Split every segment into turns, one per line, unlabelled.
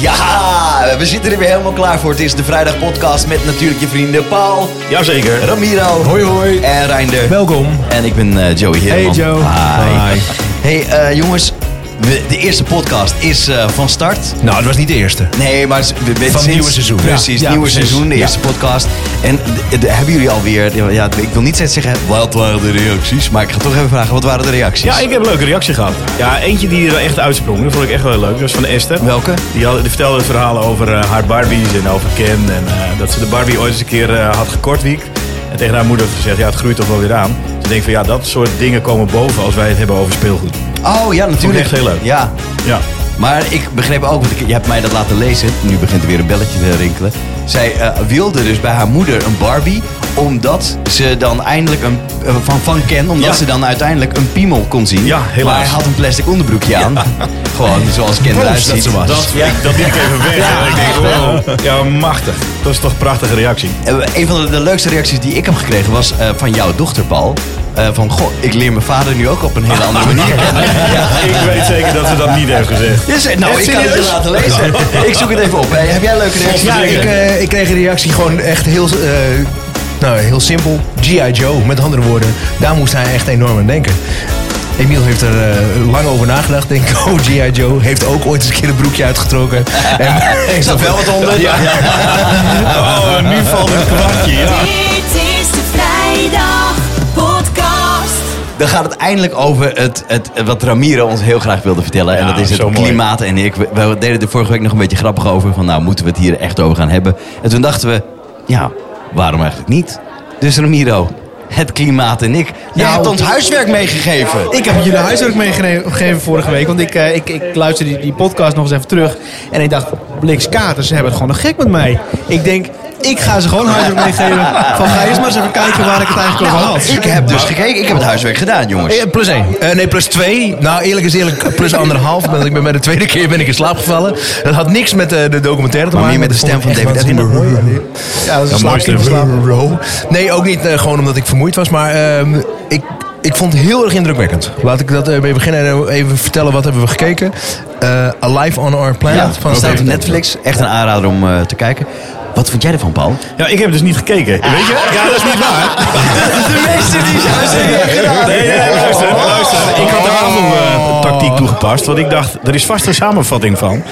Ja, we zitten er weer helemaal klaar voor. Het is de vrijdagpodcast met natuurlijk je vrienden Paul,
Jazeker.
Ramiro
Hoi hoi.
en Reinder.
Welkom.
En ik ben eh, Joey
Hey
Heerman.
Joe.
Hi. Hey eh, jongens, we- de eerste podcast is eh, van start.
Nou, dat was niet de eerste.
Nee, maar s- we- we- sinds-
nieuwe seizoen.
Precies,
Ja, ja,
nieuwe
precies.
seizoen, de
Ja.
eerste podcast. En d- d- hebben jullie alweer, ja, ik wil niet zeggen wat waren de reacties, maar ik ga toch even vragen, wat waren de reacties?
Ja, ik heb een leuke reactie gehad. Ja, eentje die er echt uitsprong. Dat vond ik echt wel heel leuk. Dat was van Esther.
Welke?
Die, had, die vertelde verhalen over eh, haar Barbies en over Ken. En eh, dat ze de Barbie ooit eens een keer eh, had gekortwiekt. En tegen haar moeder had gezegd, ja, het groeit toch wel weer aan. Ze denkt van, ja, dat soort dingen komen boven als wij het hebben over speelgoed.
Oh ja, natuurlijk.
echt heel leuk.
Ja,
Ja.
Maar ik begreep ook, want ik, je hebt mij dat laten lezen. Nu begint er weer een belletje te rinkelen. Zij eh, wilde dus bij haar moeder een Barbie, omdat ze dan eindelijk een, eh, van, van Ken, omdat
Ja.
ze dan uiteindelijk een piemel kon zien.
Ja, helaas.
Maar hij had een plastic onderbroekje aan. Gewoon zoals Ken eruit ziet.
Dat, ik, dat liet ik even weg. Ja, ik denk, wow. ja, machtig. Dat is toch een prachtige reactie.
Eh, Een van de, de leukste reacties die ik heb gekregen was eh, van jouw dochter, Paul. Eh, van, goh, ik leer mijn vader nu ook op een hele andere manier kennen. Ja.
Ik weet zeker dat ze dat niet heeft gezegd.
Dus, eh, nou,
Echt
ik kan het je
serieus?
laten lezen. Ik zoek het even op. Eh, heb jij een leuke reacties?
Ja, ik,
gekregen?
eh, ik kreeg een reactie gewoon echt heel, eh, nou, heel simpel. G.I. Joe, met andere woorden. Daar moest hij echt enorm aan denken. Emiel heeft er eh, lang over nagedacht. Denk ik, oh, G.I. Joe heeft ook ooit eens een keer een broekje uitgetrokken. En,
Er staat wel wat onder.
Oh, nu valt een kwartje. Ja.
Dit is de vrijdag podcast.
Dan gaat het eindelijk over het, het, wat Ramiro ons heel graag wilde vertellen. en
Ja,
dat is het
zo mooi.
klimaat. En ik, we, we deden er vorige week nog een beetje grappig over. Van nou, moeten we het hier echt over gaan hebben? En toen dachten we, ja, waarom eigenlijk niet? Dus Ramiro, het klimaat en ik. Jij
Nou,
hebt ons huiswerk meegegeven.
Ik heb jullie huiswerk meegegeven vorige week. Want ik, eh, ik, ik luisterde die, die podcast nog eens even terug. En ik dacht, Blix Katers, ze hebben het gewoon nog gek met mij. Ik denk, ik ga ze gewoon huiswerk meegeven. Van ga eerst maar eens even kijken waar ik het eigenlijk over
Nou,
had.
Ik heb dus gekeken. Ik heb het huiswerk gedaan, jongens.
eh, plus één. Eh, nee, plus twee. Nou, eerlijk is eerlijk, plus anderhalf. Want ik ben bij de tweede keer ben ik in slaap gevallen. Dat had niks met eh, de documentaire te
Maar
maken.
meer met de
Dat
stem
vond
van
ik echt
David
waanzinnig
Attenborough.
mooi. Ja, dat is een
Ja, mooi stem.
slaapkind slaap. Nee, ook niet eh, gewoon omdat ik vermoeid was. Maar ehm, ik, ik vond het heel erg indrukwekkend. Laat ik dat eh, mee beginnen en even vertellen wat hebben we gekeken. Eh, Alive on Our Planet.
Ja,
van
van staat op
David
Netflix. Echt een aanrader om eh, te kijken. Wat vond jij ervan, Paul?
Ja, ik heb dus niet gekeken. Weet je? Ja, dat is niet waar.
De meeste die zijn huiswerk gedaan.
Nee, nee, luister, luister. Ik had de avondtactiek toegepast, want ik dacht, er is vast een samenvatting van.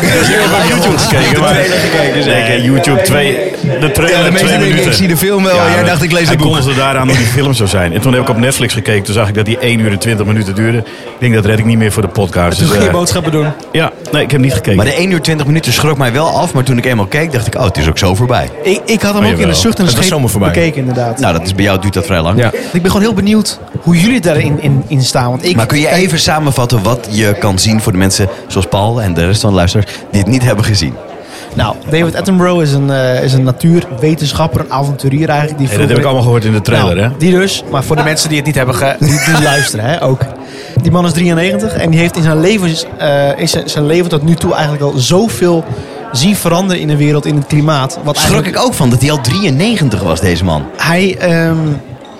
Dus ik heb op YouTube gekeken. maar- Nee, YouTube 2, de
Ja,
trailer
de meeste
2
denken,
minuten.
ik zie de film wel. Jij
maar
dacht, ik lees
hij
het boek.
kondigde daaraan hoe die film zou zijn. En toen heb ik op Netflix gekeken, toen zag ik dat die 1 uur en 20 minuten duurde. Ik denk, dat red ik niet meer voor de podcast.
Toen
Dus,
ging je
eh,
boodschappen doen.
ja, nee, ik heb niet gekeken.
Maar de 1 uur 20 minuten schrok mij wel af. Maar toen ik eenmaal keek, dacht ik, oh, het is ook zo voorbij.
Ik, ik had hem ook in de
jawel.
zucht en de
Oh, Het was zomaar
scheep
voorbij.
bekeken inderdaad.
Nou, dat is, bij jou duurt dat vrij lang.
Ja.
Ik ben gewoon heel benieuwd hoe jullie daarin in, in staan. Want ik,
Maar kun je even samenvatten wat je kan zien voor de mensen zoals Paul en de rest van de luisteraars die het niet hebben gezien?
nou, David Attenborough is een, eh, is een natuurwetenschapper, een avonturier eigenlijk. Die
Nee, dat heb
vroeger-
ik allemaal gehoord in de trailer,
Nou,
hè? Ah.
Die dus, maar voor de mensen die het niet hebben ge... die, die luisteren, hè, ook. Die man is 93 en die heeft in zijn leven, eh, in zijn, zijn leven tot nu toe eigenlijk al zoveel zien veranderen in de wereld, in het klimaat. Wat
Schrok ik ook van dat hij al 93 was, deze man.
Hij ehm,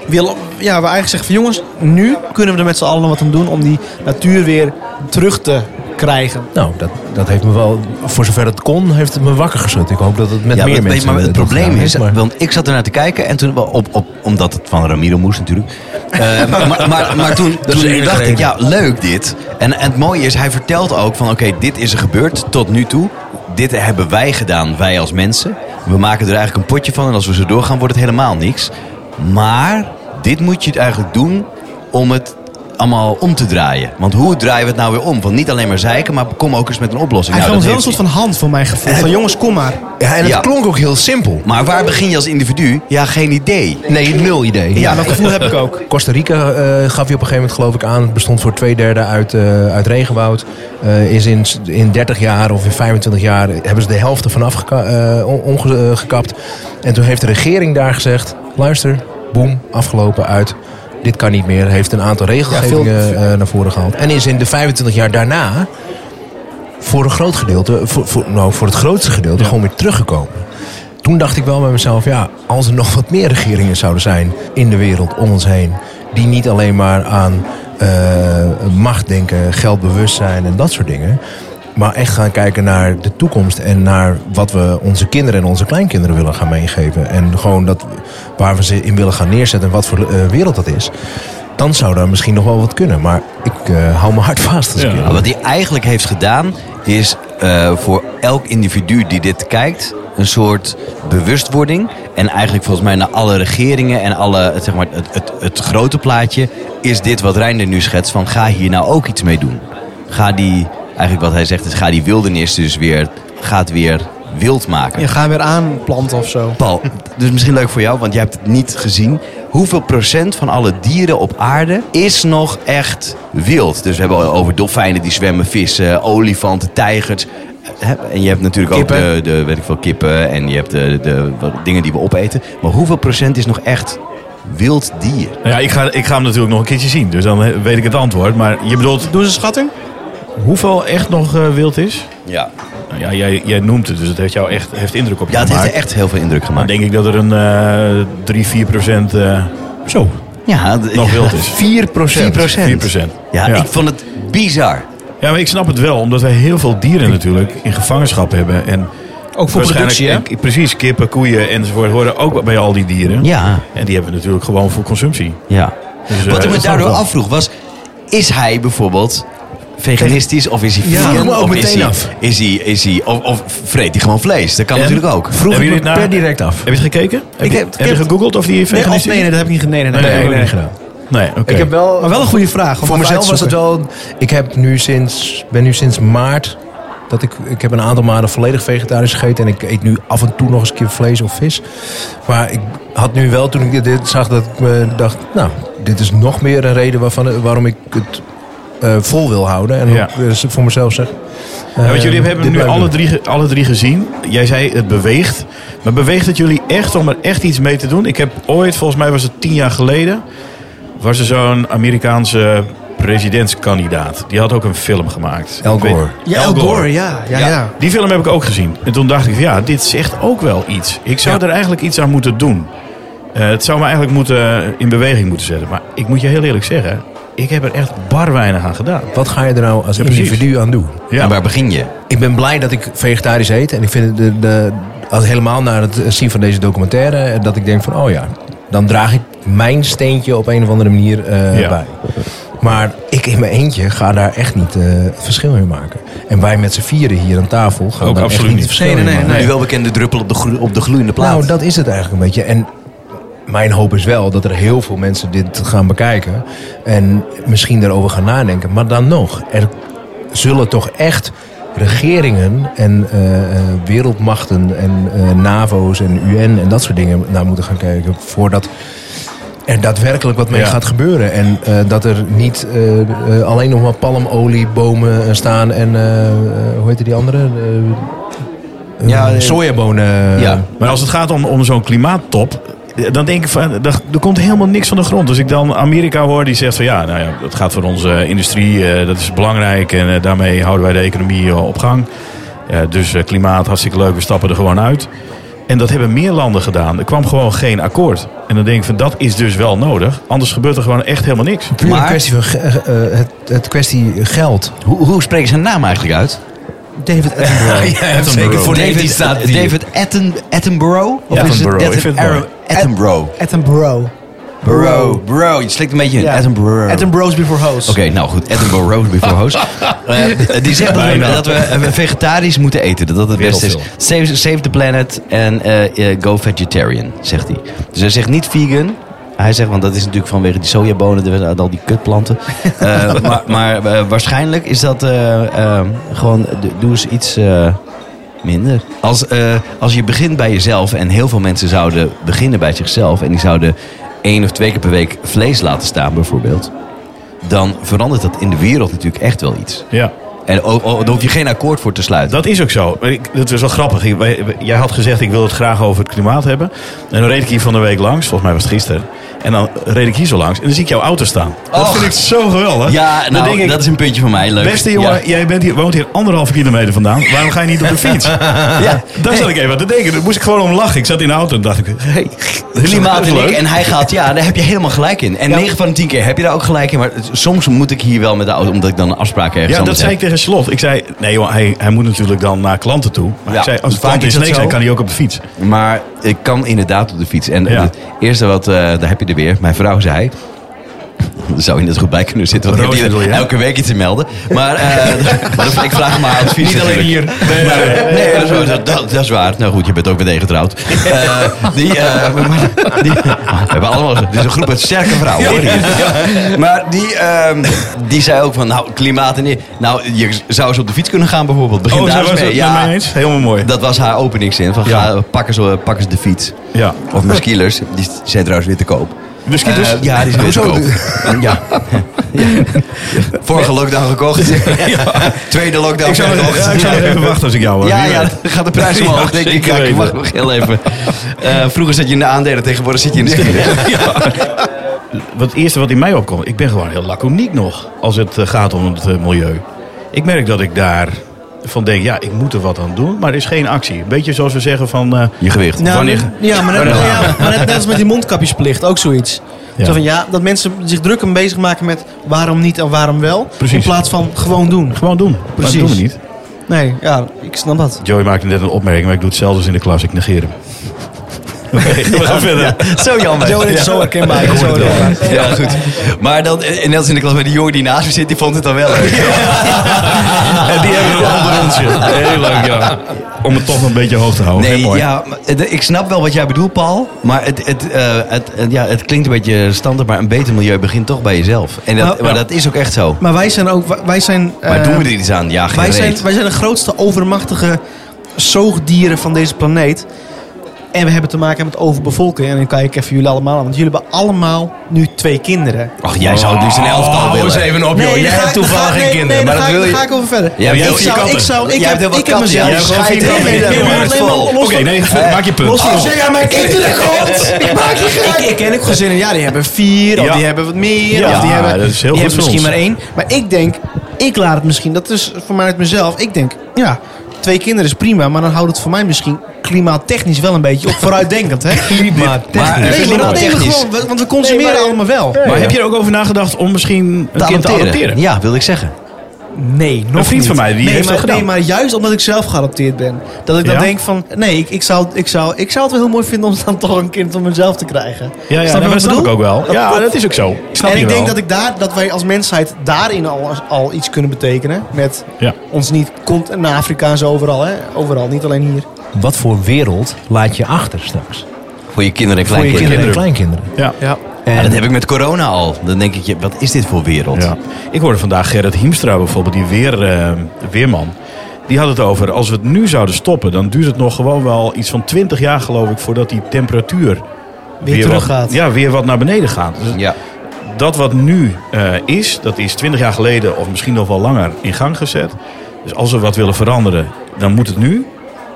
wil, ja, we eigenlijk zeggen van jongens, nu kunnen we er met z'n allen wat aan doen om die natuur weer terug te krijgen.
Nou, dat, dat heeft me wel, voor zover het kon, heeft het me wakker geschud. Ik hoop dat het met
Ja,
meer
maar,
mensen...
maar het
dat
probleem
gedaan
is,
heeft, maar-
want ik zat ernaar te kijken en toen, op, op, omdat het van Ramiro moest natuurlijk. Eh, maar, maar, maar toen,
is de
toen
enige
dacht ik,
reden.
ja, leuk dit. En, en het mooie is, hij vertelt ook van, oké, dit is er gebeurd tot nu toe. Dit hebben wij gedaan, wij als mensen. We maken er eigenlijk een potje van en als we zo doorgaan wordt het helemaal niks. Maar dit moet je het eigenlijk doen om het allemaal om te draaien. Want hoe draaien we het nou weer om? Want niet alleen maar zeiken, maar kom ook eens met een oplossing.
Hij
Nou,
gaf ons
dat
wel een soort
heeft-
van hand voor mijn gevoel. Van jongens, kom maar.
Ja, en het
Ja.
klonk ook heel simpel.
Maar waar begin je als individu? Ja, geen idee.
Nee, nul idee.
Ja, dat gevoel heb ik ook.
Costa Rica eh, gaf je op een gegeven moment geloof ik aan. Het bestond voor twee derde uit, eh, uit regenwoud. Eh, is in, s- in 30 jaar of in 25 jaar hebben ze de helft ervan eh, afgekapt. en toen heeft de regering daar gezegd... luister, boem, afgelopen uit. Dit kan niet meer. Heeft een aantal regelgevingen eh, naar voren gehaald. En is in de 25 jaar daarna... voor een groot gedeelte, voor, voor, nou, voor het grootste gedeelte, gewoon weer teruggekomen. Toen dacht ik wel bij mezelf, ja, als er nog wat meer regeringen zouden zijn in de wereld om ons heen, die niet alleen maar aan eh, macht denken, geldbewust zijn en dat soort dingen, Maar echt gaan kijken naar de toekomst en naar wat we onze kinderen en onze kleinkinderen willen gaan meegeven. En gewoon dat, waar we ze in willen gaan neerzetten en wat voor eh, wereld dat is. Dan zou daar misschien nog wel wat kunnen. Maar ik eh, hou mijn hart vast als ik
Ja.
Nou, wat hij eigenlijk heeft gedaan, is eh, voor elk individu die dit kijkt. Een soort bewustwording. En eigenlijk volgens mij naar alle regeringen en alle, het, zeg maar, het, het, het grote plaatje. Is dit wat Reinder nu schetst van ga hier nou ook iets mee doen. Ga die, eigenlijk wat hij zegt is ga die wildernis dus weer, gaat weer wild maken.
Je gaat weer aanplanten of zo.
Paul, dus misschien leuk voor jou, want jij hebt het niet gezien. Hoeveel procent van alle dieren op aarde is nog echt wild? Dus we hebben al over dolfijnen die zwemmen, vissen, olifanten, tijgers. Hè, En je hebt natuurlijk ook de,
Kippen.
de, weet ik veel, kippen en je hebt de, de wat dingen die we opeten. Maar hoeveel procent is nog echt wild dier?
Nou ja, ik ga, ik ga hem natuurlijk nog een keertje zien, dus dan eh, weet ik het antwoord. Maar je bedoelt
Doe eens een schatting.
hoeveel echt nog eh, wild is?
Ja,
Nou ja, jij, jij noemt het, dus het heeft jou echt heeft indruk op je
ja het heeft
gemaakt.
echt heel veel indruk
Dan
gemaakt.
denk ik dat er een eh 3, 4 procent eh, zo,
Ja,
nog wild is.
4 procent.
4 procent.
Ja, ik vond het bizar.
Ja, maar ik snap het wel, omdat wij heel veel dieren natuurlijk in gevangenschap hebben. En
Ook voor
waarschijnlijk-
productie, hè?
en- precies, kippen, koeien enzovoort horen ook bij al die dieren.
Ja,
En die hebben we natuurlijk gewoon voor consumptie.
ja.
Dus, eh,
Wat ik me
dat snap
daardoor
wel.
afvroeg was, is hij bijvoorbeeld veganistisch of is hij
Ja,
vegan?
vroeg me ook
of is
meteen
hij,
af.
Is hij, is hij, of, of vreet hij gewoon vlees? Dat kan
En?
natuurlijk ook.
Vroeg
Hebben
ik me
jullie het na-
per direct af.
Heb je het gekeken? Heb je,
heb-
heb
ik
je
heb-
gegoogeld of die
Nee, of
veganistisch
nee, nee, dat heb ik niet gedaan. Nee, nee, nee,
Nee,
nee,
nee,
nee.
niet gedaan.
Nee, oké.
Ik heb wel,
Maar wel een goede vraag. om
Voor
even
mezelf
uit
was
te
het wel. Ik heb nu sinds, ben nu sinds maart. Dat ik, ik heb een aantal maanden volledig vegetarisch gegeten. En ik eet nu af en toe nog eens een keer vlees of vis. Maar ik had nu wel, toen ik dit, dit zag, dat ik me dacht... Nou, dit is nog meer een reden waarvan, waarom ik het eh, vol wil houden. En
Ja.
ook eh, voor mezelf zeg...
Ja,
eh,
want jullie hebben
dit
hem nu
blijf
alle
doen.
drie, ge- alle drie gezien. Jij zei het beweegt. Maar beweegt het jullie echt om er echt iets mee te doen? Ik heb ooit, volgens mij was het tien jaar geleden... was er zo'n Amerikaanse presidentskandidaat. Die had ook een film gemaakt.
Al
Ik weet-
Gore.
Ja, El Gore, ja. ja, ja.
Die film heb ik ook gezien. En toen dacht ik, van, ja, dit zegt ook wel iets. Ik zou er eigenlijk iets aan moeten doen. Eh, het zou me eigenlijk moeten, eh, in beweging moeten zetten. Maar ik moet je heel eerlijk zeggen... ik heb er echt bar weinig aan gedaan.
Wat ga je er nou als
Ja, precies.
individu aan doen?
En waar begin je?
Ik ben blij dat ik vegetarisch eet. En ik vind het de, de, als helemaal naar het zien van deze documentaire... eh, dat ik denk van, oh ja, dan draag ik mijn steentje op een of andere manier eh,
Ja.
bij. Maar ik in mijn eentje ga daar echt niet eh, het verschil in maken. En wij met z'n vieren hier aan tafel gaan
Ook
daar echt
absoluut
niet het
niet.
verschil
Nee,
in
nee, nee,
maken.
nee.
Die welbekende druppel op de, groe- op de gloeiende plaat.
Nou, dat is het eigenlijk een beetje. En mijn hoop is wel dat er heel veel mensen dit gaan bekijken. En misschien daarover gaan nadenken. Maar dan nog, er zullen toch echt regeringen en eh, eh, wereldmachten en eh, NAVO's en UN en dat soort dingen naar moeten gaan kijken. Voordat er daadwerkelijk wat mee
Ja.
gaat gebeuren. En eh, dat er niet eh, eh, alleen nog maar palmoliebomen eh, staan en eh, eh, hoe heet die andere? Eh,
Ja,
eh,
eh,
sojabonen.
ja.
Maar als het gaat om, om zo'n klimaattop, eh, dan denk ik van, dat- er komt helemaal niks van de grond. Dus ik dan Amerika hoor die zegt van ja, nou ja, dat gaat voor onze eh, industrie, eh, dat is belangrijk en eh, daarmee houden wij de economie eh, op gang. Eh, dus eh, klimaat, hartstikke leuk, we stappen er gewoon uit. En dat hebben meer landen gedaan. Er kwam gewoon geen akkoord. En dan denk ik van dat is dus wel nodig. Anders gebeurt er gewoon echt helemaal niks.
Puur
Maar-
een kwestie van ge- eh, eh, het, het kwestie geld.
hoe, hoe spreek je zijn naam eigenlijk uit?
David Attenborough.
zeker voor
David, David Atten, Attenborough? Of is het
Attenborough, ik
David
vind het mooi.
Attenborough? Attenborough.
Attenborough.
Bro, bro, je slikt een beetje in.
Ja.
Attenborough.
Attenborough's before hoes.
Oké, nou goed. Edinburgh Road before host. Eh, die zegt dat we,
Bijna.
dat we eh, vegetarisch moeten eten. Dat dat het beste is. Save, save the planet en eh, eh, go vegetarian, zegt hij. Dus hij zegt niet vegan. Hij zegt, want dat is natuurlijk vanwege die sojabonen de- uit al die kutplanten. Eh, maar maar eh, waarschijnlijk is dat eh, eh, gewoon, d- doe eens iets eh, minder. Als, eh, als je begint bij jezelf en heel veel mensen zouden beginnen bij zichzelf... en die zouden één of twee keer per week vlees laten staan bijvoorbeeld dan verandert dat in de wereld natuurlijk echt wel iets.
Ja.
En o- o- daar hoef je geen akkoord voor te sluiten.
Dat is ook zo. Ik- Dat is wel grappig. Ik- wij- wij- Jij had gezegd, ik wil het graag over het klimaat hebben. En dan reed ik hier van de week langs, volgens mij was het gisteren. En dan reed ik hier zo langs en dan zie ik jouw auto staan. Dat
Och.
vind ik zo geweldig.
Ja,
Dan
nou,
denk ik,
dat is een puntje van mij. Leuk.
Beste jongen,
Ja.
jij bent hier, woont hier anderhalve kilometer vandaan. Waarom ga je niet op de fiets? ja, daar zat ik even aan te denken. Daar moest ik gewoon om lachen. Ik zat in de auto en dacht ik... Hey,
Klimaat en
leuk.
ik. En hij gaat, ja, daar heb je helemaal gelijk in. En 9 van de 10 keer heb je daar ook gelijk in. Maar het- soms moet ik hier wel met de auto, omdat ik dan een afspraak ergens
Ja, dat
anders
zei ik
heb.
tegen Slot. Ik zei, nee joh, hij, hij moet natuurlijk dan naar klanten toe. Maar
Ja,
ik zei, als
vaak
de klanten in
is dat
Sneek zijn,
zo. Oh,
kan hij ook op de fiets.
Maar ik kan inderdaad op de fiets. En
Ja.
het eerste wat, eh, daar heb je er weer. Mijn vrouw zei... daar Zou je net goed bij kunnen zitten? Want ik
Roos
heb
bedoel
hier
je?
elke week iets te melden. Maar eh, dat- ik vraag maar advies.
Niet alleen
natuurlijk.
hier. Nee, nee,
Nee,
nee.
dat, is waar, dat, dat- dat is waar. Nou goed, je bent ook meteen getrouwd. Eh, die, eh, maar- maar- die- we hebben allemaal... Dit is een groep met sterke vrouwen. Hoor, hier. Maar die, ehm, die zei ook van, nou, klimaat en... Nou, je zou eens op de fiets kunnen gaan bijvoorbeeld. Begin
Oh,
daar
zo
eens
was
mee.
het
Ja.
met mij eens. Helemaal mooi.
Dat was haar openingszin. Van,
Ja.
ga, pak, eens, eh, pak eens de fiets.
Ja.
Of mijn skilers. Die zijn trouwens weer te koop.
De scooters?
Eh, ja, die zijn weer te koop. ja. Ja. Vorige lockdown gekocht. Tweede lockdown
ik zou, nog-
gekocht.
ja, ik zou nog even wachten als ik jou was.
Ja,
Wie
ja,
weet.
dan gaat de prijs
Ja,
omhoog. denk ik,
zeker
ja, ik
weten.
wacht nog heel even. Eh, vroeger zat je in de aandelen, tegenwoordig zit je in de skilers.
Wat het eerste wat in mij opkomt, ik ben gewoon heel laconiek nog als het eh, gaat om het eh, milieu. Ik merk dat ik daar van denk, ja, ik moet er wat aan doen, maar er is geen actie. Een beetje zoals we zeggen van... eh,
Je gewicht.
Nou,
Wanneer-
Ja, maar, net,
Wanneer-
ja, maar net, net als met die mondkapjesplicht, ook zoiets.
Ja.
Zo van, ja, dat mensen zich druk en bezig maken met waarom niet en waarom wel.
Precies.
In plaats van gewoon doen.
gewoon doen. Maar
Precies.
Dat doen we niet.
Nee, ja, ik snap dat.
Joey maakte net een opmerking, maar ik doe het zelfs als in de klas. Ik negeer hem. Oké, we gaan verder.
Zo jammer.
Zo, dit is zo herkenbaar.
Ik hoor
Zo
het wel.
herkenbaar.
Ja, goed. Maar dan, en net als in de klas met die jongen die naast me zit, die vond het dan wel leuk.
En die hebben we onder ons. joh. Heel leuk, ja. Om het toch nog een beetje hoog te houden. Heel
Nee,
mooi.
ja, maar het- ik snap wel wat jij bedoelt, Paul. Maar het, het, eh, het, het- ja, het klinkt een beetje standaard, maar een beter milieu begint toch bij jezelf. En dat,
Nou,
maar
ja.
dat is ook echt zo.
Maar wij zijn ook, wij zijn...
Maar
eh,
doen we er iets aan? Ja, geen
wij
reet.
zijn, wij zijn de grootste overmachtige zoogdieren van deze planeet. En we hebben te maken met overbevolking. En dan kijk ik even jullie allemaal aan. Want jullie hebben allemaal nu twee kinderen.
Ach, jij zou het liefst een elftal
Oh,
willen.
eens even op, joh.
daar
Jij
ga
hebt
ik-
toevallig
daar ga-
geen
nee,
kinderen,
nee,
maar
daar
dat
ga ik-
wil je...
Daar ga ik over verder.
Ja, maar jij
ik,
hebt je
zou,
katten.
ik zou, ik
Jij
heb,
hebt heel
ik
wat
heb
katten, ja.
mezelf
Jij hebt gewoon
gescheiden.
vier
Nee, nee,
katten. nou,
nee,
Ja,
maar
maar
alleen maar
vol.
los
Oké,
van-
nee, maak je punt. Oh.
Los van-
jij mijn kinderen komt! Ik maak je
Oh. Ik, ik ken ook gezinnen, ja, die hebben vier, of
Ja.
die hebben wat meer,
Ja,
of die hebben,
dat is heel
die
goed
hebben
voor
misschien maar
ons.
één. Maar ik denk, ik laat het misschien, dat is voor mij uit mezelf, ik denk, ja, twee kinderen is prima, maar dan houdt het voor mij misschien klimaattechnisch wel een beetje op vooruitdenkend, hè?
Maar, eh,
Nee, maar dat
klimaattechnisch.
nemen we gewoon, we- want we consumeren
Nee, maar-
allemaal wel.
Maar heb je er ook over nagedacht om misschien een
Te
kind te
adopteren.
adopteren?
Ja, wilde ik zeggen.
Nee, nog
Een vriend
niet.
van mij, die
nee,
heeft
maar,
dat gedaan.
Nee, maar juist omdat ik zelf geadopteerd ben. Dat ik dan
Ja?
denk van, nee, ik, ik, zou, ik, zou, ik zou het wel heel mooi vinden om dan toch een kind van mezelf te krijgen.
Ja, ja
Snap je
nee, maar
wat
dat snap ik
bedoel?
ook wel. Ja,
dat-
dat is ook zo. Ik snap
en
je
ik denk
wel.
dat, ik daar, dat wij als mensheid daarin al, al iets kunnen betekenen. Met
Ja.
ons niet komt naar Afrika en zo overal. Hè? Overal, niet alleen hier.
Wat voor wereld laat je achter straks?
Voor je kinderen en
Voor je
kleinkinderen.
kinderen en kleinkinderen.
Ja.
Ja.
Ja, dat heb ik met corona al. Dan denk ik, je, wat is dit voor wereld?
Ja. Ik hoorde vandaag Gerrit Hiemstra bijvoorbeeld, die weer, eh, weerman. Die had het over, als we het nu zouden stoppen, dan duurt het nog gewoon wel iets van 20 jaar geloof ik, voordat die temperatuur
Weer terug
wat,
gaat.
Ja, weer wat naar beneden gaat. Dus
Ja.
dat wat nu eh, is, dat is 20 jaar geleden of misschien nog wel langer in gang gezet. Dus als we wat willen veranderen, dan moet het nu.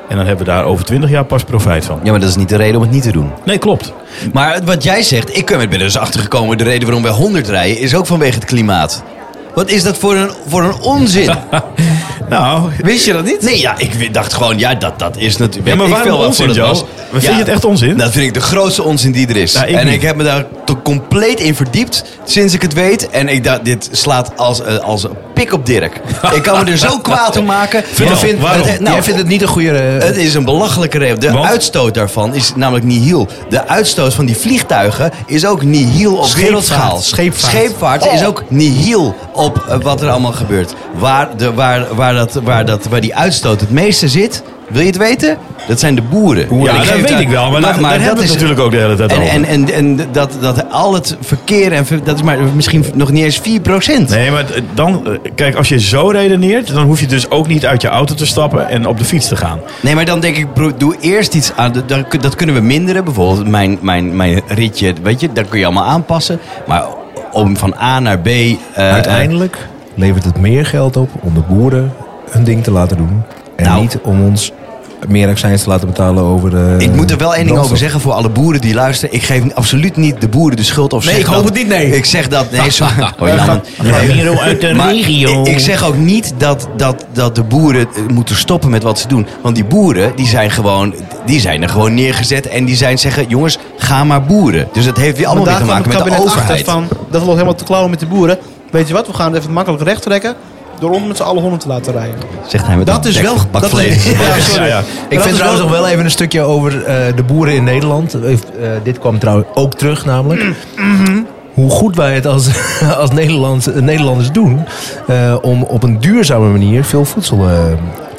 En dan hebben we daar over 20 jaar pas profijt van.
ja, maar dat is niet de reden om het niet te doen.
Nee, klopt.
Maar wat jij zegt, ik ben er dus achter gekomen. De reden waarom wij 100 rijden is ook vanwege het klimaat. Wat is dat voor een, voor een onzin?
Nou,
Wist je dat niet? Nee, ja, ik wi- dacht gewoon, ja, dat, dat is natuurlijk.
ja, maar
ik
waarom
veel wat
onzin,
voor
Joe?
dat
Was...
was.
Vind
Ja,
je het echt onzin?
Dat vind ik de grootste onzin die er is.
Nou, ik
en
niet.
ik heb me daar to- compleet in verdiept sinds ik het weet. En ik dacht, dit slaat als, eh, als een pik op Dirk. ik kan me er zo kwaad om maken.
Vertel,
Ik vind-
waarom?
het- nou,
Jij vindt het niet een goede... eh,
het is een belachelijke reden. De
Want?
uitstoot daarvan is namelijk nihil. De uitstoot van die vliegtuigen is ook nihil op
Scheepvaart.
wereldschaal.
Scheepvaart.
is ook nihil op eh, wat er allemaal gebeurt. Waar, de, waar, waar, dat, waar, dat, waar die uitstoot het meeste zit, wil je het weten? Dat zijn de boeren.
Ja,
En
dat
geef
weet
daar-
ik wel, maar, dat, daar hebben we het
is-
natuurlijk ook de hele tijd
en,
over.
en, en, en dat, dat al het verkeer, en, ver- dat is maar misschien nog niet eens 4%.
Nee, maar d- dan, eh, kijk, als je zo redeneert, dan hoef je dus ook niet uit je auto te stappen en op de fiets te gaan.
Nee, maar dan denk ik, bro, doe eerst iets aan. Dat- Dat, dat kunnen we minderen. Bijvoorbeeld mijn, mijn, mijn ritje, weet je, dat kun je allemaal aanpassen. Maar om van A naar B... eh,
Uiteindelijk levert het meer geld op om de boeren hun ding te laten doen. En
Nou.
niet om ons meer accijns te laten betalen over... eh,
Ik moet er wel één ding over
brandstof.
zeggen voor alle boeren die luisteren. Ik geef absoluut niet de boeren de schuld of
Nee,
zeg
ik hoop
dat-
het niet, nee.
Ik zeg dat, nee, sorry. Oh, jammer.
Hero uit de
Maar
regio.
ik, ik zeg ook niet dat, dat, dat de boeren eh, moeten stoppen met wat ze doen. Want die boeren, die zijn, gewoon, die zijn er gewoon neergezet. En die zijn zeggen, jongens, ga maar boeren. Dus dat heeft weer allemaal weer
Vandaag
te
kwam
maken met
het
de
kabinet
overheid.
achter Van, dat we helemaal te klauwen met de boeren. Weet je wat, we gaan het even makkelijk recht trekken. Door ons met z'n allen honden te laten rijden.
Zegt hij met
Dat
een
is
bek
wel...
verpakt
dat
vlees.
is, ja, sorry.
Ja, ja.
Maar
Ik
dat
vind
is
trouwens nog wel even een stukje over eh, de boeren in Nederland. Eh, eh, dit kwam trouwens ook terug namelijk.
Mhm.
Hoe goed wij het als, als Nederlands, Nederlanders doen eh, om op een duurzame manier veel voedsel eh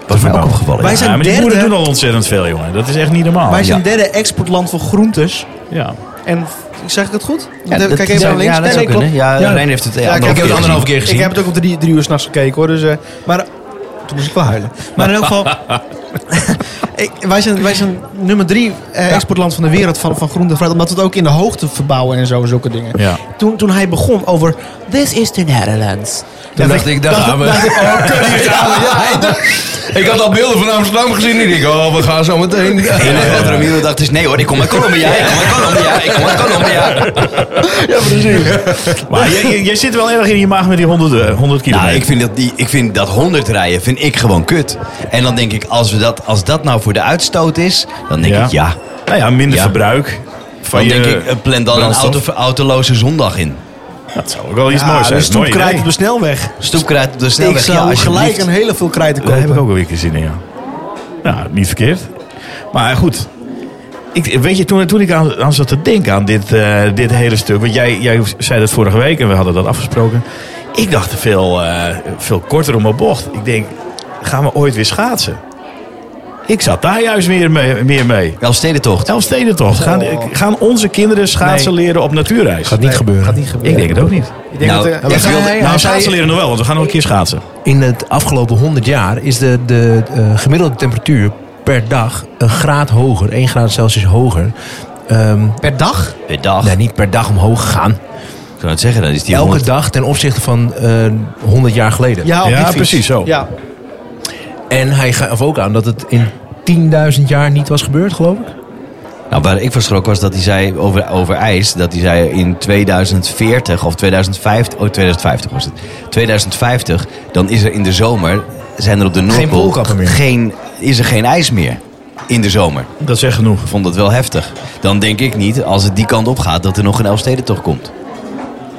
Wat mij ook opgevallen.
Wij
ja.
zijn
maar die boeren
derde.
doen al ontzettend veel, jongen. Dat is echt niet normaal.
Wij zijn
Ja.
derde exportland voor groentes.
Ja.
En zeg ik het goed?
Ja,
Kijk
dat-
even naar links.
Ja, dat
Nee,
zou
nee, klopt.
kunnen. Ja,
Ja.
Rijn heeft het eh,
Ja, ik heb
anderhalf
het
keer
anderhalf
gezien.
keer gezien.
Ik heb het ook om drie, drie uur s'nachts gekeken hoor. Dus, eh, maar toen moest ik wel huilen. Maar in elk geval. ik, wij, zijn, wij zijn nummer drie eh, exportland van de wereld van, van groente en fruit. Omdat we het ook in de hoogte verbouwen en zo, zulke dingen.
Ja.
Toen, toen hij begon over. This is the Netherlands.
Toen dacht ik, daar gaan we. Ik had al beelden van Amsterdam gezien en ik dacht, oh, we gaan zo meteen.
En eh, wat Ramiro dacht is, nee hoor, ik kom uit Colombia, ik kom uit Colombia, ik kom uit Colombia.
Maar jij- jij- jij zit wel erg in je maag met die 100, eh, 100 kilometer.
Nou, ik vind, dat die, ik vind dat 100 rijden vind ik gewoon kut. En dan denk ik, als, we dat, als dat nou voor de uitstoot is, dan denk ik ja.
Nou ja, minder
Ja.
verbruik. Van
Dan
je
denk ik, eh, plan dan een
brandstof.
auto, autoloze zondag in.
Dat zou ook wel iets moois
Ja,
zijn.
dus toen
Mooi
krijg
idee.
op de snelweg.
Stoepkruid op de
Ik
snelweg. Ja,
zou gelijk
alsjeblieft.
een hele veel krijten
Daar heb ik
kopen.
ook wel weer een keer zin in, ja. Ja, niet verkeerd. Maar goed. Ik, weet je, toen, toen ik aan, aan zat te denken aan dit, eh, dit hele stuk. Want jij, jij zei dat vorige week en we hadden dat afgesproken. Ik dacht veel, eh, veel korter om mijn bocht. Ik denk, gaan we ooit weer schaatsen? Ik zat daar juist meer mee. Meer mee.
Wel stedentocht.
Elfstedentocht. Gaan, gaan onze kinderen schaatsen leren op natuurreis?
Gaat niet gebeuren.
Oh. Gaat niet gebeuren.
Ik denk het ook niet.
Ik denk
Nou,
dat, eh,
ja,
dat
wil-
hij-
Nou,
hij-
schaatsen leren nog wel, want we gaan nog een keer schaatsen.
In het afgelopen 100 jaar is de, de eh, gemiddelde temperatuur per dag een graad hoger, 1 graad Celsius hoger. Ehm,
Per dag?
Per dag.
nee,
Ik
niet per dag omhoog gegaan.
zou het zeggen, dan is die
Elke
100.
dag ten opzichte van eh, 100 jaar geleden.
Ja, op
Ja,
die fiets.
precies zo.
Ja.
En hij gaf ook aan dat het in 10.000 jaar niet was gebeurd, geloof ik.
Nou, waar ik van schrok was dat hij zei over, over ijs, dat hij zei in 2040 of 2050, oh 2050 was het. 2050, dan is er in de zomer, zijn er op de Noordpool
poolkappen meer.
geen, is er geen ijs meer in de zomer.
Dat zegt genoeg.
Ik vond dat wel heftig. Dan denk ik niet, als het die kant op gaat, dat er nog een Elfstedentocht komt.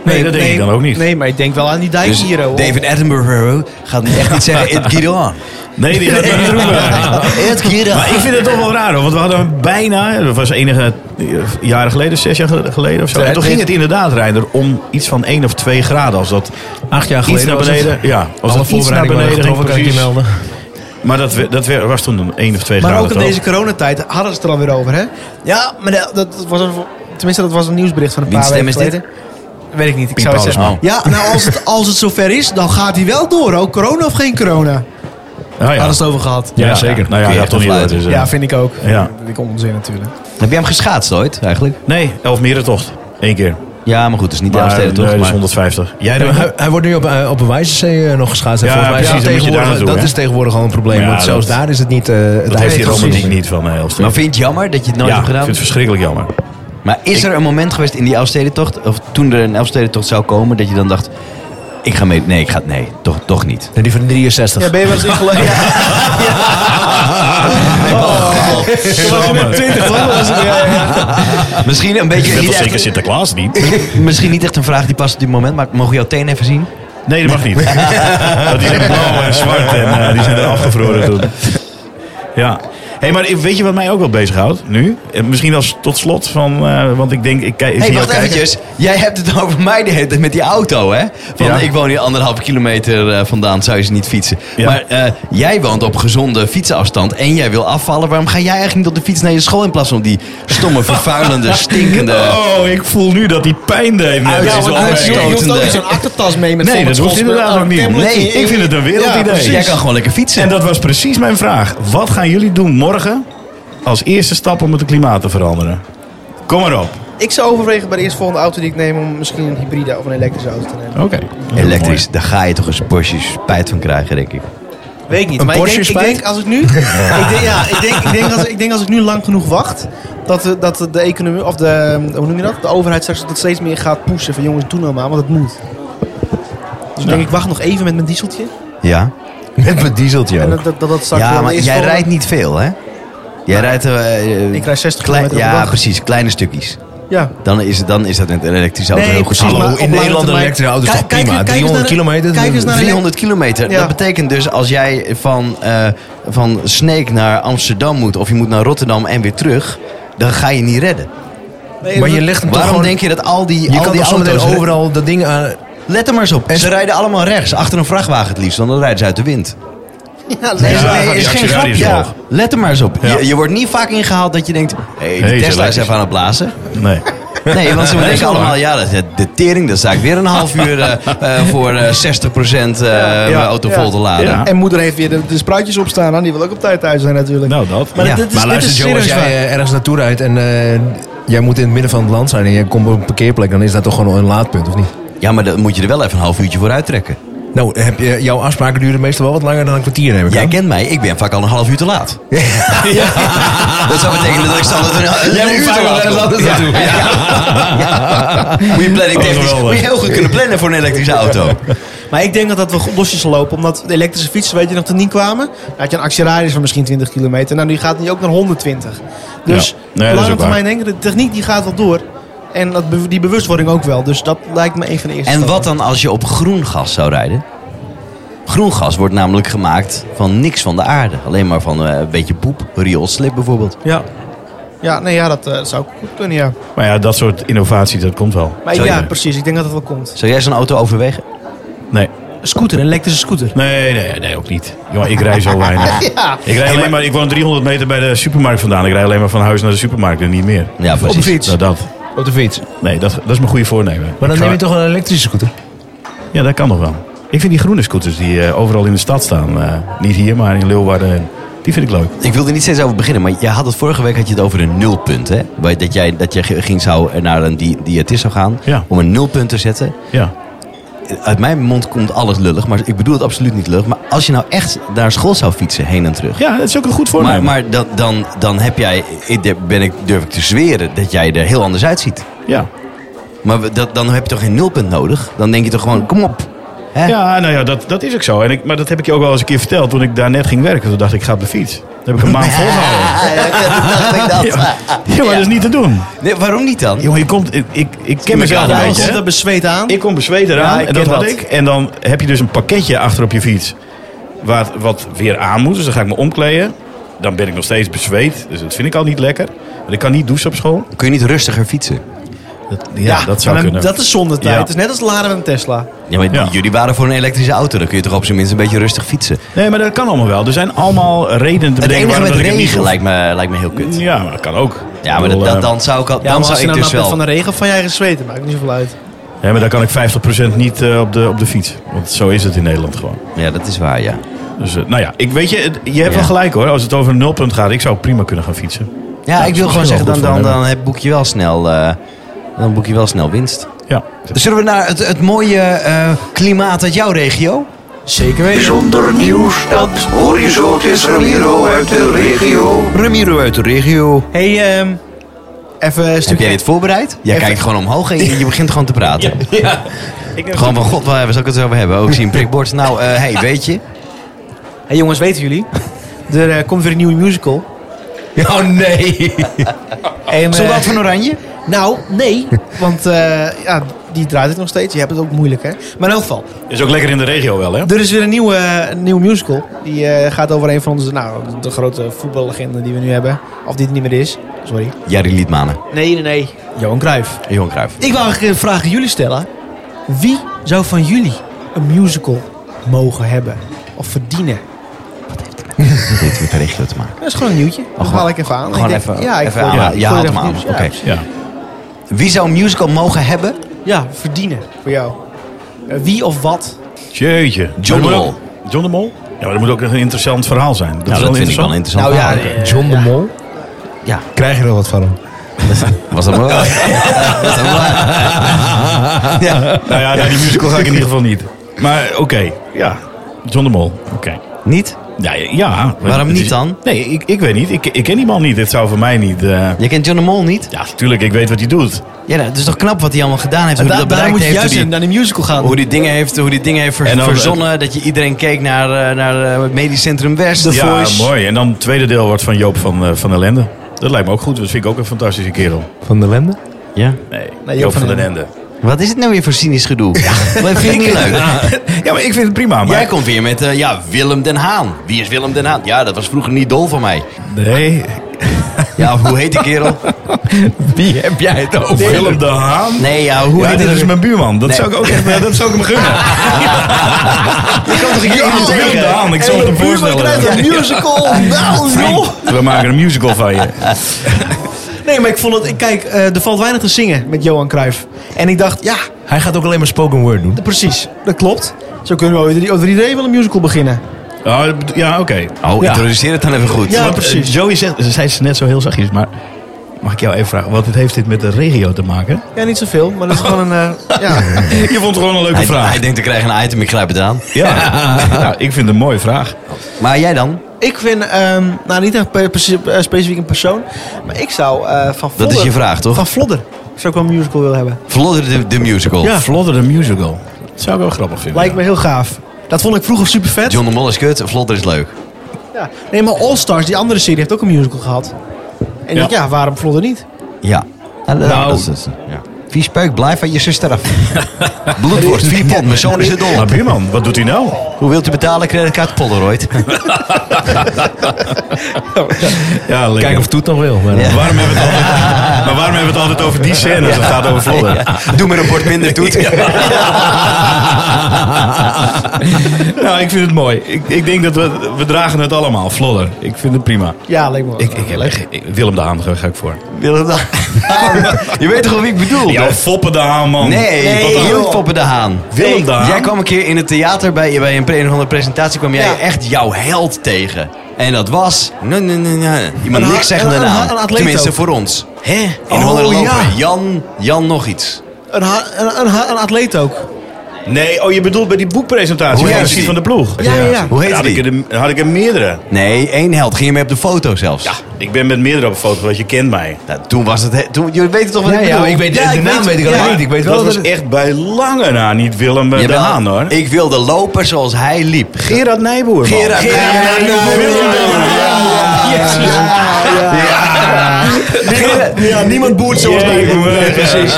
Nee, dat denk ik dan ook niet.
Nee, maar ik denk wel aan die dijk
Dus
hier. hoor.
David Attenborough gaat niet echt niet zeggen, it get on.
Nee, die gaat niet roepen.
It get
Maar
on.
ik vind het toch wel raar hoor, want we hadden bijna, dat was enige eh, jaren geleden, zes jaar ge- geleden of zo. En toen ging het inderdaad, Reinder, om iets van 1 of 2 graden. Als dat
Acht jaar
iets
geleden
naar
was
beneden,
het.
ja, als
Alle
dat iets naar
voorbereidingen waren
beneden ging,
getroffen, kan ik je
precies.
melden.
Maar dat, we- dat we- was toen een 1 of 2
Maar
graden.
ook in
toch?
deze coronatijd hadden ze het er alweer over, hè? Ja, maar dat, dat was een, tenminste, dat was een nieuwsbericht van een
Wiens
paar
stem
weken
is dit?
geleden. Weet ik niet, ik zou
Paulus,
het zeggen. Ja, nou als het, als het zover is, dan gaat hij wel door, ook corona of geen corona.
Ah, ja.
Hadden ze het over gehad.
Ja, zeker. Nou ja,
Kun je
dat
echt
toch niet
wel
hoor,
fluiten.
dus, eh.
Ja, vind ik ook.
Ja.
Vind ik onzin natuurlijk.
Heb jij hem geschaatst ooit, eigenlijk?
Nee, 11 merentocht. Eén keer.
Ja, maar goed, het is niet de
Maar, nee,
Elfstedentocht.
dat is
Maar...
150. Jij
Ja,
dan?
maar hij, hij wordt nu op, eh, op een wijze zee eh, nog geschaatst. En
Ja,
volgens mij is
precies,
dat,
dan moet je daar
tegenwoordig,
naartoe,
dat
hè?
is tegenwoordig al een probleem.
Ja,
want zelfs
dat-
daar is het niet... eh het
Dat heeft die
ijs-
romantiek niet van eh, Elfstedentocht.
Maar vind je het jammer dat je het nooit
ja, ik
hebt gedaan? Oh.
vind het verschrikkelijk jammer.
Maar is er een moment geweest in die Elfstedentocht, of toen er een Elfstedentocht zou komen, dat je dan dacht, ik ga mee, nee, ik ga, nee, toch, toch niet.
Nee, die van de 63.
Ja, ben je wel eens ingelopen? Ja. Oh. Toen was je net 20, toch? Was het- ja, ja.
Misschien een beetje,
Net
niet
als zeker
echt,
Sinterklaas niet.
misschien niet echt een vraag die past op dit moment, maar mogen we jouw teen even zien?
Nee, dat mag niet. Want die zijn blauw en zwart en eh, die zijn er afgevroren toen. Ja. hey, maar weet je wat mij ook wel bezighoudt nu? Eh, Misschien als tot slot van, eh, want ik denk, ik kijk, ik
Hé,
zie
hey,
jou
wacht
kijken.
eventjes. Jij hebt het over mij de hele tijd met die auto, hè? Van,
Ja.
Ik woon hier anderhalve kilometer eh, vandaan, zou je ze niet fietsen.
Ja.
Maar eh, jij woont op gezonde fietsafstand en jij wil afvallen. Waarom ga jij eigenlijk niet op de fiets naar je school in plaats van op die stomme, vervuilende, stinkende...
Oh, ik voel nu dat die pijn deed. net.
Uit-
Dat is wel
uit-
erg.
Je hoeft ook niet zo'n achtertas mee met
Nee, dat hoeft
zondagschool-
inderdaad ook niet.
tablet.
Nee.
Ik vind het een
Ja,
wereldidee.
precies.
Jij kan gewoon lekker fietsen.
en dat was precies mijn vraag. Wat gaan jullie doen morgen als eerste stap om het klimaat te veranderen? Kom maar op.
Ik zou overwegen bij de eerstvolgende auto die ik neem om misschien een hybride of een elektrische auto te nemen.
Oké.
Elektrisch, daar ga je toch eens Porsche spijt van krijgen, denk ik.
Weet ik niet.
Een
maar ik
Porsche
denk, ik
spijt?
denk als ik nu. ik, denk, ja, ik, denk, ik, denk als, ik denk als ik nu lang genoeg wacht. Dat, de- dat de economie. Of de. Hoe noem je dat? De overheid straks dat steeds meer gaat pushen. Van jongens, doe nou maar, want het moet. Dus ik denk ik wacht nog even met mijn dieseltje.
Ja.
Met mijn dieseltje
En
ook.
dat, dat, dat dat straks
Ja,
wel
maar
is
jij
voor- Nou,
rijdt niet veel, hè? Jij rijdt... eh, eh,
Ik rijd 60
klein-
kilometer op de
Ja,
dag.
precies. Kleine stukjes.
Ja.
Dan is, het- dan is dat met een elektrische auto
Nee,
heel
precies,
goed.
maar
Hallo,
op
in
lange
Nederland een
termijn-
elektrische auto is
Kijk-
toch
kijk-
prima?
kijk eens
300
naar de-
kilometer?
kijk eens naar de-
300 kilometer.
Ja.
Dat betekent dus als jij van, eh, van Sneek naar Amsterdam moet... of je moet naar Rotterdam en weer terug... dan ga je niet redden.
Nee,
Maar
dat-
je legt hem toch
Waarom
gewoon...
denk je dat al die,
je
al
kan
die
toch zometeen
auto's...
overal dat ding aan...
Let er maar eens op. ze rijden allemaal rechts. Achter een vrachtwagen het liefst. want Dan rijden ze uit de wind.
Ja, nee,
Ja,
nee,
die
is geen
actieradius
grapje.
omhoog.
Let er maar eens op.
Ja.
Je, je wordt niet vaak ingehaald dat je denkt... Hé, hey,
Hey,
die
ze
Tesla is
lijken-
even aan het blazen.
Nee.
Nee, want ze
Nee,
denken
zo
allemaal,
waar.
ja, dat, dat- de tering, dat sta ik weer een half uur eh, eh, voor eh, 60% eh mijn auto
ja.
vol te laden.
Ja.
En moeder heeft weer de, de spruitjes op staan. hè. Die wil ook op tijd thuis zijn natuurlijk.
Nou, dat.
Maar
Ja.
dit is,
Maar
dit
luister
is
Joe, als
serieus
jij
waar.
eh, ergens naartoe rijdt en eh, jij moet in het midden van het land zijn... en je komt op een parkeerplek, dan is dat toch gewoon een laadpunt, of niet?
Ja, maar dan moet je er wel even een half uurtje voor uittrekken.
Nou, heb je, jouw afspraken duren meestal wel wat langer dan een kwartier, neem ik
Jij
aan.
kent mij, ik ben vaak al een half uur te laat. Dat zou betekenen dat ik standaard een, een uur te laat kom. Ja. Moet je planning technisch,
geweldig.
moet je heel goed kunnen plannen voor een elektrische auto.
Maar ik denk dat dat wel goed losjes zal lopen. Omdat de elektrische fietsen, weet je nog, toen niet kwamen. Dan had je een actieradius van misschien 20 kilometer. Nou, nu gaat die ook naar 120. Dus
Ja. Nee,
op
dat is
lange
ook
termijn denken, de techniek die gaat wel door. En dat, be- die bewustwording ook wel. Dus dat lijkt me een van de eerste
En
stappen.
wat dan als je op groen gas zou rijden? Groen gas wordt namelijk gemaakt van niks van de aarde. Alleen maar van eh, een beetje poep, rioolslip bijvoorbeeld.
Ja, ja, nee, ja dat eh, zou goed kunnen, ja.
Maar ja, dat soort innovatie, dat komt wel.
Maar
Zou
ja,
je-
precies. Ik denk dat dat wel komt.
Zou jij zo'n auto overwegen?
Nee.
Scooter, een elektrische scooter.
Nee, nee, nee, ook niet. Jongen, ik rij zo weinig.
Ja,
Ik, rij alleen maar, ik woon 300 meter bij de supermarkt vandaan. Ik rij alleen maar van huis naar de supermarkt en niet meer.
Ja,
op de
precies.
fiets.
Nou, dat.
Op de fiets.
Nee, dat, dat is mijn goede voornemen.
Maar dan
Ik ga-
neem je toch een elektrische scooter?
Ja, dat kan nog wel. Ik vind die groene scooters die eh, overal in de stad staan. eh, niet hier, maar in Leeuwarden. en- Die vind ik leuk.
Ik wilde er niet steeds over beginnen, maar jij had het vorige week had je het over een nulpunt. Hè? Waar- Dat jij, dat jij ging zou naar een di- diëtist zou gaan
Ja.
om een nulpunt te zetten.
Ja.
Uit mijn mond komt alles lullig, maar ik bedoel het absoluut niet lullig. Maar als je nou echt naar school zou fietsen, heen en terug.
ja, dat is ook een goed
Maar,
voornemen.
maar dan, dan, dan heb jij, ik- daar ben ik, durf ik te zweren dat jij er heel anders uitziet.
ja.
Maar we- dat, dan heb je toch geen nulpunt nodig? Dan denk je toch gewoon, kom op. Hè?
ja, nou ja, dat, dat is ook zo. En ik, maar dat heb ik je ook wel eens een keer verteld toen ik daar net ging werken. Toen dacht ik, ik ga op de fiets. Dat heb ik een maand volgehouden.
Ah, ja, dat- dat- dat-
Ja, maar dat is niet te doen.
Nee, waarom niet dan?
Jongen, je komt, ik, ik, ik ken mezelf
Ja,
een
Ja, dan
beetje.
komt
hè?
dat bezweet aan.
Ik kom bezweet eraan
Ja, ik
en dat
ken
had
dat.
ik. En dan heb je dus een pakketje achter op je fiets. Wat, wat weer aan moet. Dus dan ga ik me omkleden. Dan ben ik nog steeds bezweet. Dus dat vind ik al niet lekker. Want ik kan niet douchen op school.
Kun je niet rustiger fietsen?
Dat,
Ja, maar dan- Dat is zonder tijd.
Ja.
Het is net als laden een Tesla.
Ja, maar
Ja.
jullie waren voor een elektrische auto. Dan kun je toch op zijn minst een beetje rustig fietsen.
Nee, maar dat kan allemaal wel. Er zijn allemaal redenen te
Het
bedenken
enige
waarom
met
dat ik het niet
regen
doe.
lijkt me, lijkt me heel kut.
Ja, maar dat kan ook.
Ja, maar
Ik
dat,
bedoel,
dat,
eh,
dan zou ik, al,
Ja,
dan
maar als
zou
je
ik
nou
dus
nat bent
wel...
van de regen, van jij gezweten, maakt niet zoveel uit.
Ja, maar dan kan ik 50% niet eh, op, de, op de fiets. Want zo is het in Nederland gewoon.
Ja, dat is waar, ja.
Dus, eh, nou ja, ik weet je, het- je hebt
Ja.
wel gelijk hoor. Als het over een nulpunt gaat, ik zou prima kunnen gaan fietsen.
Ja, ik
is
wil
misschien
gewoon zeggen, dan,
wel goed
dan,
voor
dan heb- boek je wel snel... eh, dan boek je wel snel winst.
Ja.
Zullen we naar het, het mooie eh, klimaat uit jouw regio?
Zeker weten.
Bijzonder nieuws dat Horizont is Ramiro uit de regio.
Ramiro uit de regio.
hey, ehm, even een
Heb jij
stukje...
dit voorbereid? Jij
Even-
kijkt gewoon omhoog en je, je begint gewoon te praten. Gewoon van, god, waar zal ik het over hebben? Ook zien prikbord. Nou, eh hey, weet je?
hey, jongens, weten jullie? Er eh, komt weer een nieuwe musical.
Oh nee!
En, eh,
Soldaat van Oranje?
Nou, nee. Want eh, ja, die draait het nog steeds. Je hebt het ook moeilijk, hè? Maar in elk geval,
Is ook lekker in de regio wel, hè?
er is weer een nieuwe, eh, een nieuwe musical. Die eh, gaat over een van onze, nou, de grote voetballegenden die we nu hebben. Of die het niet meer is. Sorry.
Jari Liedmanen.
Nee, nee, nee. Johan Cruijff.
Johan Cruijff.
Ik wou eigenlijk een vraag aan jullie stellen. Wie zou van jullie een musical mogen hebben? Of verdienen?
Dat heeft met de regio te maken.
Dat is gewoon een nieuwtje. Dat haal ik even aan.
Oh, gewoon
ik
even-
ja, ik
even
gooi-
aan-
ja,
je
ik gooi
haalt
er
hem
even
aan.
nieuws.
Oké.
Ja,
Ja.
Wie zou een musical mogen hebben?
Ja, verdienen voor jou. Eh, Wie of wat?
Jeetje.
John
Maar
de Mol.
dat moet ook- John de Mol? Ja, maar dat moet ook een interessant verhaal zijn. Dat,
Nou,
is wel
dat vind ik wel
interessant.
een interessant. Ah,
Nou ja,
verhaal.
eh,
John de Mol?
Ja.
Krijg je er wat van hem?
Was dat maar wel? Was dat maar wel? ja.
Nou ja, naar die musical ga ik in ieder geval niet. Maar oké, ja. John de Mol. Oké.
Niet?
Ja, ja.
Waarom
Het is-
niet dan?
Nee, ik, ik weet niet. Ik, ik ken die man niet. Het zou voor mij niet... eh,
Je kent John de Mol niet?
ja, natuurlijk, ik weet wat hij doet.
Ja, dat is toch knap wat hij allemaal gedaan heeft. Hoe hij
Daar,
dat bereikt
daarom moet je
heeft.
juist
hoe die-
naar de musical gaan.
Hoe die dingen heeft, hoe die dingen heeft ver-
En dan-
verzonnen. Dat je iedereen keek naar, eh, naar eh, het Medisch Centrum West.
ja, mooi. En dan het tweede deel wordt van Joop van, eh, van der Lende. Dat lijkt me ook goed. Dat vind ik ook een fantastische kerel.
Van de Lende?
Ja.
Nee, Joop,
Joop
van,
van
der
der
Lende.
Wat is het nou weer voor cynisch gedoe? Ja. Dat vind ik niet leuk.
Ja, maar ik vind het prima. Maar...
Jij komt weer met eh, ja, Willem den Haan. Wie is Willem den Haan? Ja, dat was vroeger niet dol van mij.
Nee.
Ja, hoe heet die kerel?
Wie heb jij het over?
Willem de Haan.
Nee, ja, hoe
Ja,
heet
dit
die-
is mijn buurman. Dat
Nee.
zou ik ook echt, eh, dat zou ik hem gunnen.
Ik kan toch een keer
Ja,
iemand
Willem de
zeggen?
Haan. Ik zal het hem voorstellen.
een musical. Nou, joh.
We maken een musical van je.
Nee, maar ik vond het... ik- Kijk, eh, er valt weinig te zingen met Johan Cruijff. En ik dacht, ja,
Hij gaat ook alleen maar spoken word doen.
precies. Dat klopt. Zo kunnen we over drie- over drie dagen wel een musical beginnen.
Oh, ja, oké.
Oh, introduceer het dan even goed.
Ja,
Want, eh,
precies.
Joey zegt, ze zei ze net zo heel zachtjes, maar mag ik jou even vragen, wat heeft dit met de regio te maken?
Ja, niet zoveel, maar dat is gewoon een... eh, ja.
Je vond het gewoon een leuke
Hij,
vraag.
hij denkt, ik krijg een item, ik grijp het aan.
ja. Nou, ik vind het een mooie vraag.
Maar jij dan?
Ik vind, ehm, nou niet echt per- precies- eh, specifiek een persoon, maar ik zou eh, van Vlodder...
Dat is je vraag, toch?
Van Vlodder zou ik wel een musical willen hebben.
Vlodder de, de musical.
Vlodder de musical. Dat zou ik wel grappig vinden.
Lijkt me heel gaaf. Dat vond ik vroeger super vet.
John de Mol is kut, Vlodder is leuk.
Ja. Nee, maar All Stars, die andere serie, heeft ook een musical gehad. En
Ja.
ja, ja waarom Vlodder niet?
Ja. Nou, dat is het. Ja. Vies peuk, blijf van je zuster af. Bloedworst, vier pond, mijn zoon is er dol
Maar
op.
buurman, wat doet hij nou?
Hoe wilt u betalen? Creditcard Polaroid.
Ja, lekker.
Kijken of Toet nog wil. Maar,
Ja.
Waarom hebben we het altijd, maar waarom hebben we het altijd over die scène als het gaat over Vlodder?
Doe maar een bord minder toet.
Nou, ik vind het mooi. Ik, ik denk dat we, we dragen het allemaal, Vlodder. Ik vind het prima.
Ja, lijkt me wel.
Ik, ik, heb echt- ik- Willem de Haan daar ga ik voor.
Willem dan? nou? Je weet toch wel wie ik bedoel?
Ja, Foppen de Haan, man.
Nee,
Wat dan?
Joep Poppen de Haan.
Willem de Haan?
Jij kwam een keer in het theater bij, bij een, pre- een of andere presentatie kwam jij
Ja.
echt jouw held tegen. En dat was nee, nee, nee, nee. iemand
Een-
niks zeggende
een- een-
naam.
een atleet
Tenminste
ook.
voor ons. Hè? In
Oh,
Holland lopen.
ja.
Jan, Jan nog iets.
Een, ha- een, een, ha- een atleet ook.
Nee, oh, je bedoelt bij die boekpresentatie
Hoe
van
heet
Lucie
die?
van de Ploeg.
Ja, ja, ja.
Hoe heet
had
die?
Ik er, had ik er meerdere.
Nee, één held. Ging je mee op de foto zelfs?
Ja, ik ben met meerdere op een foto, want je kent mij.
Nou, toen was het... he- Toen, jullie weten toch wat ik bedoel?
de naam weet ik
ja.
alleen niet. Ik weet wel
dat
dat
was echt bij lange na niet Willem eh, de
Jawel,
Haan, hoor.
Ik wilde lopen zoals hij liep.
Gerard Nijboer, man.
Gerard Nijboer.
Willem de Haan. Jezus.
Ja, niemand boert zoals
Nijboer.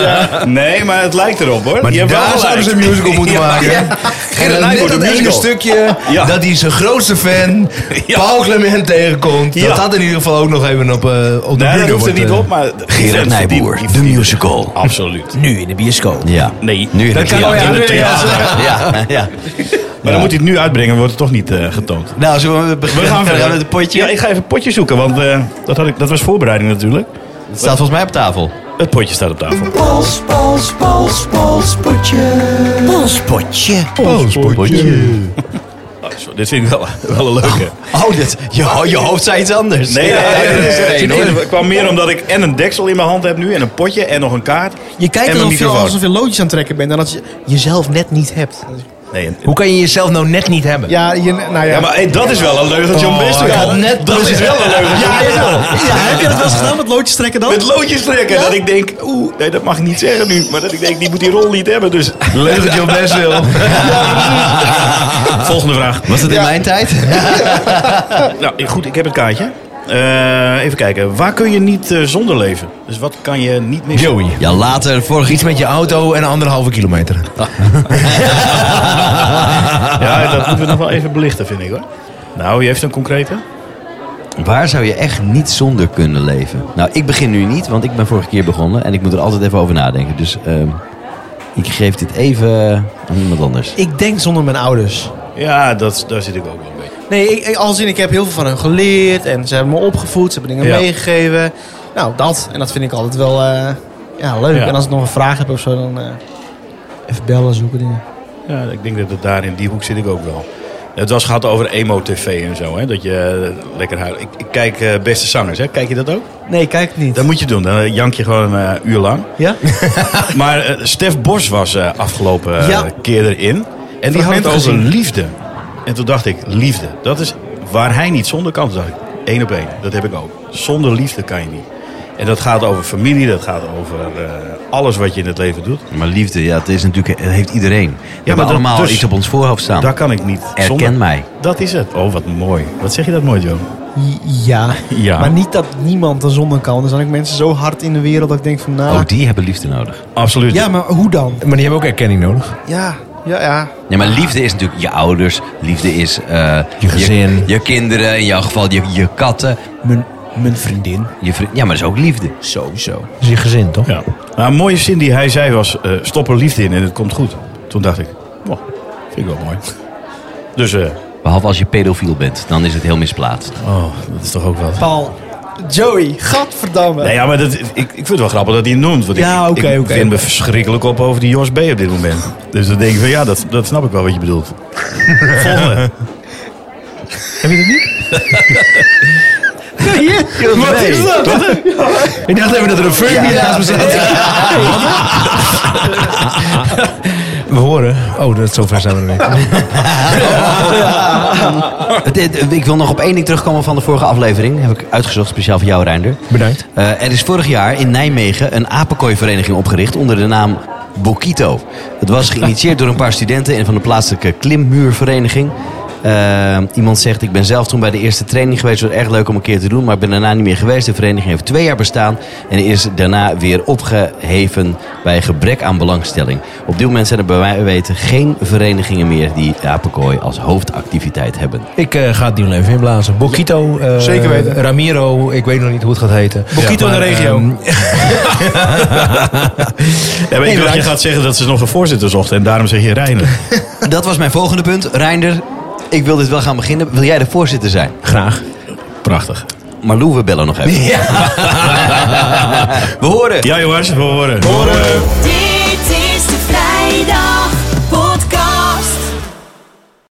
Ja. Nee, maar het lijkt erop, hoor.
Maar
Je hebt wel
daar
gelijk.
zouden ze een musical moeten
Ja.
maken. En
Gerard
dan net
Nijboer, de
dat ene
musical.
stukje
Ja.
dat hij zijn grootste fan,
Ja.
Paul Clement, tegenkomt.
Ja.
Dat had in ieder geval ook nog even op, eh op de
Nee, dat
burger
hoeft er
wordt,
niet
eh,
op, maar...
Gerard Nijboer, de musical.
Absoluut.
Nu in de bioscoop.
Ja.
Nee,
Nu in
dat
het
kan
theater.
wel, ja.
In het theater. Ja, ja.
Maar dan moet hij het nu uitbrengen, wordt het toch niet eh, getoond.
Nou, zullen we beginnen
We gaan verder
met het potje?
Ja, ik ga even het potje zoeken, want eh, dat, had ik, dat was voorbereiding natuurlijk.
Het staat volgens mij op tafel.
Het potje staat op tafel.
Pols, pols, pols, pols, potje.
Oh, sorry, dit vind ik wel, wel een leuke.
Oh, dit, je, ho- je hoofd zei iets anders.
Nee, nee,
Ja,
nee,
dit
nee,
is er
nee,
één,
nee,
hoor.
Het kwam meer omdat ik en een deksel in mijn hand heb nu, en een potje, en nog een kaart.
Je kijkt
en een
alsof je,
microfoon.
alsof je loodjes aan het trekken bent en dat je jezelf net niet hebt.
Nee, en-
Hoe kan je jezelf nou net niet hebben?
Ja, je, nou ja.
ja, maar hey, dat is wel een leugeltje om best te
ik had
doen.
net
Dat is wel een leugeltje om best te doen.
Ja, heb je dat wel eens gedaan met loodjes trekken dan?
Met loodjes trekken, dat ik denk, oeh, nee, dat mag ik niet zeggen nu. Maar dat ik denk, die moet die rol niet hebben, dus...
Leuk dat je best wil.
Volgende vraag.
Was dat in mijn tijd?
Nou, goed, ik heb het kaartje. Eh, even kijken. Waar kun je niet eh, zonder leven? Dus wat kan je niet missen?
Joey.
Ja, later, vorig
Iets met je auto en anderhalve kilometer.
Ja, dat moeten we nog wel even belichten, vind ik hoor. Nou, je heeft een concrete?
Waar zou je echt niet zonder kunnen leven? Nou, ik begin nu niet, want ik ben vorige keer begonnen en ik moet er altijd even over nadenken. Dus ehm, ik geef dit even aan iemand anders.
Ik denk zonder mijn ouders.
Ja, dat, daar zit ik ook wel een beetje.
Nee, ik, ik- als in, ik heb heel veel van hen geleerd en ze hebben me opgevoed, ze hebben dingen
Ja.
meegegeven. Nou, dat. En dat vind ik altijd wel eh, ja, leuk.
Ja.
En als ik nog een vraag heb of zo, dan eh, even bellen, zoeken dingen.
Ja, ik denk dat het daar in die hoek zit ik ook wel. Het was gehad over emo-tv en zo, hè? dat je eh, lekker huilt. Ik, ik kijk eh, Beste Zangers, hè? kijk je dat ook?
Nee, kijk het niet.
Dat moet je doen, dan eh, jank je gewoon eh, een uur lang.
Ja?
Maar eh, Stef Bos was eh, afgelopen eh,
Ja.
keer erin. En die had het
Fragment
over
gezien.
liefde. En toen dacht ik, liefde, dat is Waar hij niet zonder kan zijn. Eén op één. Dat heb ik ook. Zonder liefde kan je niet. En dat gaat over familie, dat gaat over eh, alles wat je in het leven doet.
Maar liefde, ja, dat, is natuurlijk, dat heeft iedereen. We hebben
dat-
allemaal
dus-
iets op ons voorhoofd
Nou,
staan.
Daar kan ik niet
Erken mij.
Dat is het. Oh, wat mooi. Wat zeg je dat mooi, Joe?
Ja.
Ja.
Maar niet dat niemand er zonder kan. Er zijn ook mensen zo hard in de wereld dat ik denk van nou...
Oh, die hebben liefde nodig.
Absoluut.
ja, maar hoe dan?
Maar die hebben ook erkenning nodig.
Ja, ja, ja.
Ja, maar liefde is natuurlijk je ouders. Liefde is eh,
gezin.
Je, je kinderen, in jouw geval je, je katten.
Mijn, mijn vriendin.
Je vriend, ja, maar dat is ook liefde.
Sowieso.
Dat is je gezin, toch?
Ja. Maar Nou, een mooie zin die hij zei was: eh, stop er liefde in en het komt goed. Toen dacht ik: wow, vind ik wel mooi. Dus, eh,
Behalve als je pedofiel bent, dan is het heel misplaatst.
oh, dat is toch ook wat.
Paul. Joey. Gadverdamme.
Nou ja, maar dat, ik, ik vind het wel grappig dat hij het noemt. Want ik-
Ja,
ik,
oké,
ik
oké.
vind me verschrikkelijk op over die Jos B. op dit moment. Dus dan denk ik van ja, dat, dat snap ik wel wat je bedoelt. Volgende.
Heb je dat niet?
Wat is dat?
Ik dacht even dat er een furby naast me zat. We horen. Oh, dat zover zijn we er niet.
Het- het- Ik wil nog op één ding terugkomen van de vorige aflevering. Heb ik uitgezocht speciaal voor jou, Reinder.
Bedankt.
Eh, er is vorig jaar in Nijmegen een apenkooivereniging opgericht onder de naam Bokito. Het was geïnitieerd door een paar studenten en van de plaatselijke klimmuurvereniging. Eh, iemand zegt, ik ben zelf toen bij de eerste training geweest. Het was erg leuk om een keer te doen, maar ik ben daarna niet meer geweest. De vereniging heeft twee jaar bestaan en is daarna weer opgeheven bij gebrek aan belangstelling. Op dit moment zijn er bij mij weten geen verenigingen meer die de apenkooi als hoofdactiviteit hebben.
Ik eh, ga het nieuw leven inblazen. Bokito. eh,
Zeker weten.
Ramiro. Ik weet nog niet hoe het gaat heten.
Bokito in de
maar,
regio.
ehm,
Ja, maar ik dacht, je gaat zeggen dat ze nog een voorzitter zochten en daarom zeg je Reiner.
Dat was mijn volgende punt. Reinder, ik wil dit wel gaan beginnen. Wil jij de voorzitter zijn?
graag.
Prachtig.
Maar Lou, we bellen nog even. we horen.
Ja jongens, we horen.
Dit